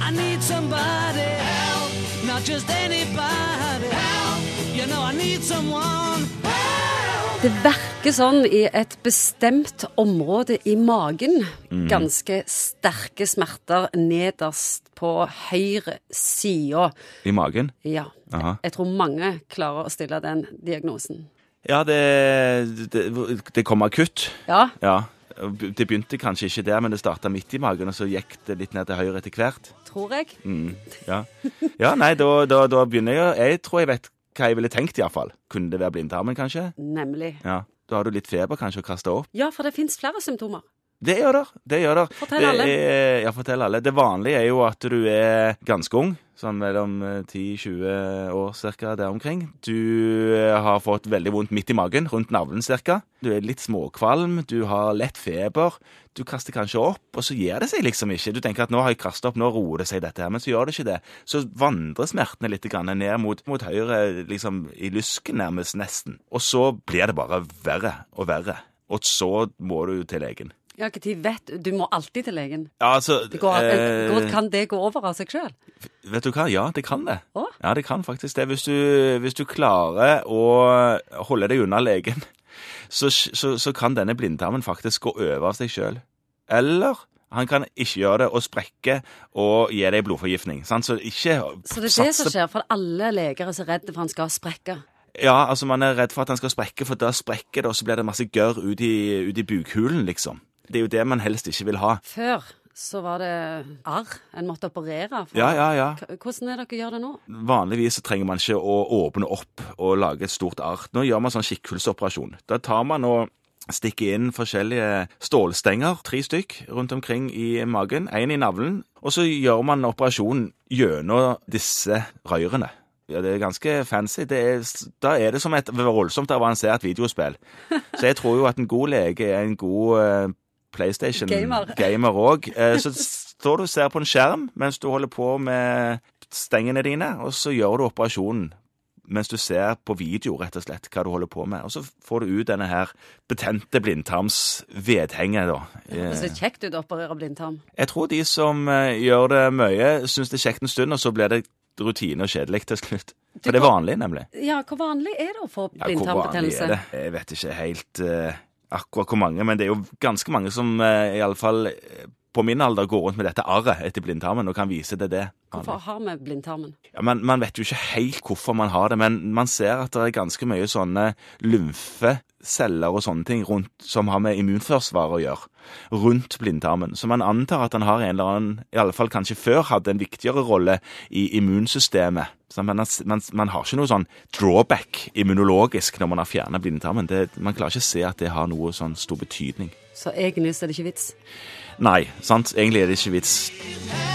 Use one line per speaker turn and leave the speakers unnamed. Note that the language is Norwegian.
I need somebody help, not just anybody help. You know I need someone help.
Det verker sånn i et bestemt område i magen.
Mm.
Ganske sterke smerter nederst på høyre sida.
I magen?
Ja.
Aha.
Jeg tror mange klarer å stille den diagnosen.
Ja, det, det, det kom akutt.
Ja.
Ja. Det begynte kanskje ikke der, men det starta midt i magen, og så gikk det litt ned til høyre etter hvert.
Tror jeg.
Mm, ja. ja, nei, da, da, da begynner jeg å Jeg tror jeg vet hva jeg ville tenkt, iallfall. Kunne det være blindtarmen, kanskje?
Nemlig.
Ja. Da har du litt feber, kanskje, og kaster opp.
Ja, for det fins flere symptomer.
Det gjør der. det gjør der.
Fortell
det
alle.
Er, ja, fortell alle. Det vanlige er jo at du er ganske ung, sånn mellom eh, 10-20 år cirka der omkring. Du eh, har fått veldig vondt midt i magen, rundt navlen cirka. Du er litt småkvalm, du har lett feber, du kaster kanskje opp, og så gir det seg liksom ikke. Du tenker at nå har jeg kastet opp, nå roer det seg dette her, men så gjør det ikke det. Så vandrer smertene litt grann ned mot, mot høyre, liksom i lysken nærmest nesten. Og så blir det bare verre og verre. Og så må du til legen.
Ja, ikke tid vet Du må alltid til legen.
Ja, altså
Det går,
eh,
går, kan det gå over av seg sjøl?
Vet du hva? Ja, det kan det.
Å?
Ja, det kan faktisk det. Hvis du, hvis du klarer å holde deg unna legen, så, så, så kan denne blindtarmen faktisk gå over av seg sjøl. Eller han kan ikke gjøre det og sprekke og gi deg blodforgiftning. Sant? Så ikke
Så det er det som skjer, for alle leger er så redde for han skal sprekke.
Ja, altså man er redd for at han skal sprekke, for da sprekker det, og så blir det masse gørr ut, i- ut i bukhulen, liksom. Det er jo det man helst ikke vil ha.
Før så var det arr en måtte operere for.
Ja, ja, ja.
K- Hvordan er det dere gjør det nå?
Vanligvis så trenger man ikke å åpne opp og lage et stort ark. Nå gjør man sånn kikkhullsoperasjon. Da tar man og stikker inn forskjellige stålstenger, tre stykk, rundt omkring i magen, én i navlen, og så gjør man operasjonen gjennom disse rørene. Ja, Det er ganske fancy. Det er, da er det som et voldsomt avansert videospill. Så jeg tror jo at en god lege er en god eh, PlayStation
Gamer.
gamer òg. Så står du og ser på en skjerm mens du holder på med stengene dine, og så gjør du operasjonen mens du ser på video rett og slett hva du holder på med. Og så får du ut denne her betente blindtarmsvedhenget, da.
Det
Eh,
ser kjekt ut å operere blindtarm.
Jeg tror de som eh, gjør det mye, syns det er kjekt en stund, og så blir det rutine og kjedelig til slutt. For det er
kan-
vanlig, nemlig.
Ja, hvor vanlig er det å få
Ja, hvor vanlig
blindtarmbetennelse?
er det? Jeg vet ikke helt eh, akkurat hvor mange, men det er jo ganske mange som eh, i alle iallfall på min alder går rundt med dette arret etter blindtarmen og kan vise det det.
Hvorfor har vi blindtarmen?
Ja, man, man vet jo ikke helt hvorfor man har det, men man ser at det er ganske mye sånne lymfeceller og sånne ting rundt, som har med immunforsvaret å gjøre, rundt blindtarmen. Så man antar at han har en eller annen, i alle fall kanskje før, hadde en viktigere rolle i immunsystemet. Så man, har- man, man har ikke noe sånn drawback immunologisk når man har fjernet blindtarmen. Det, man klarer ikke å se at det har noe sånn stor betydning.
Så egentlig så er det ikke vits.
Nei, sant? Egentlig er det ikke vits.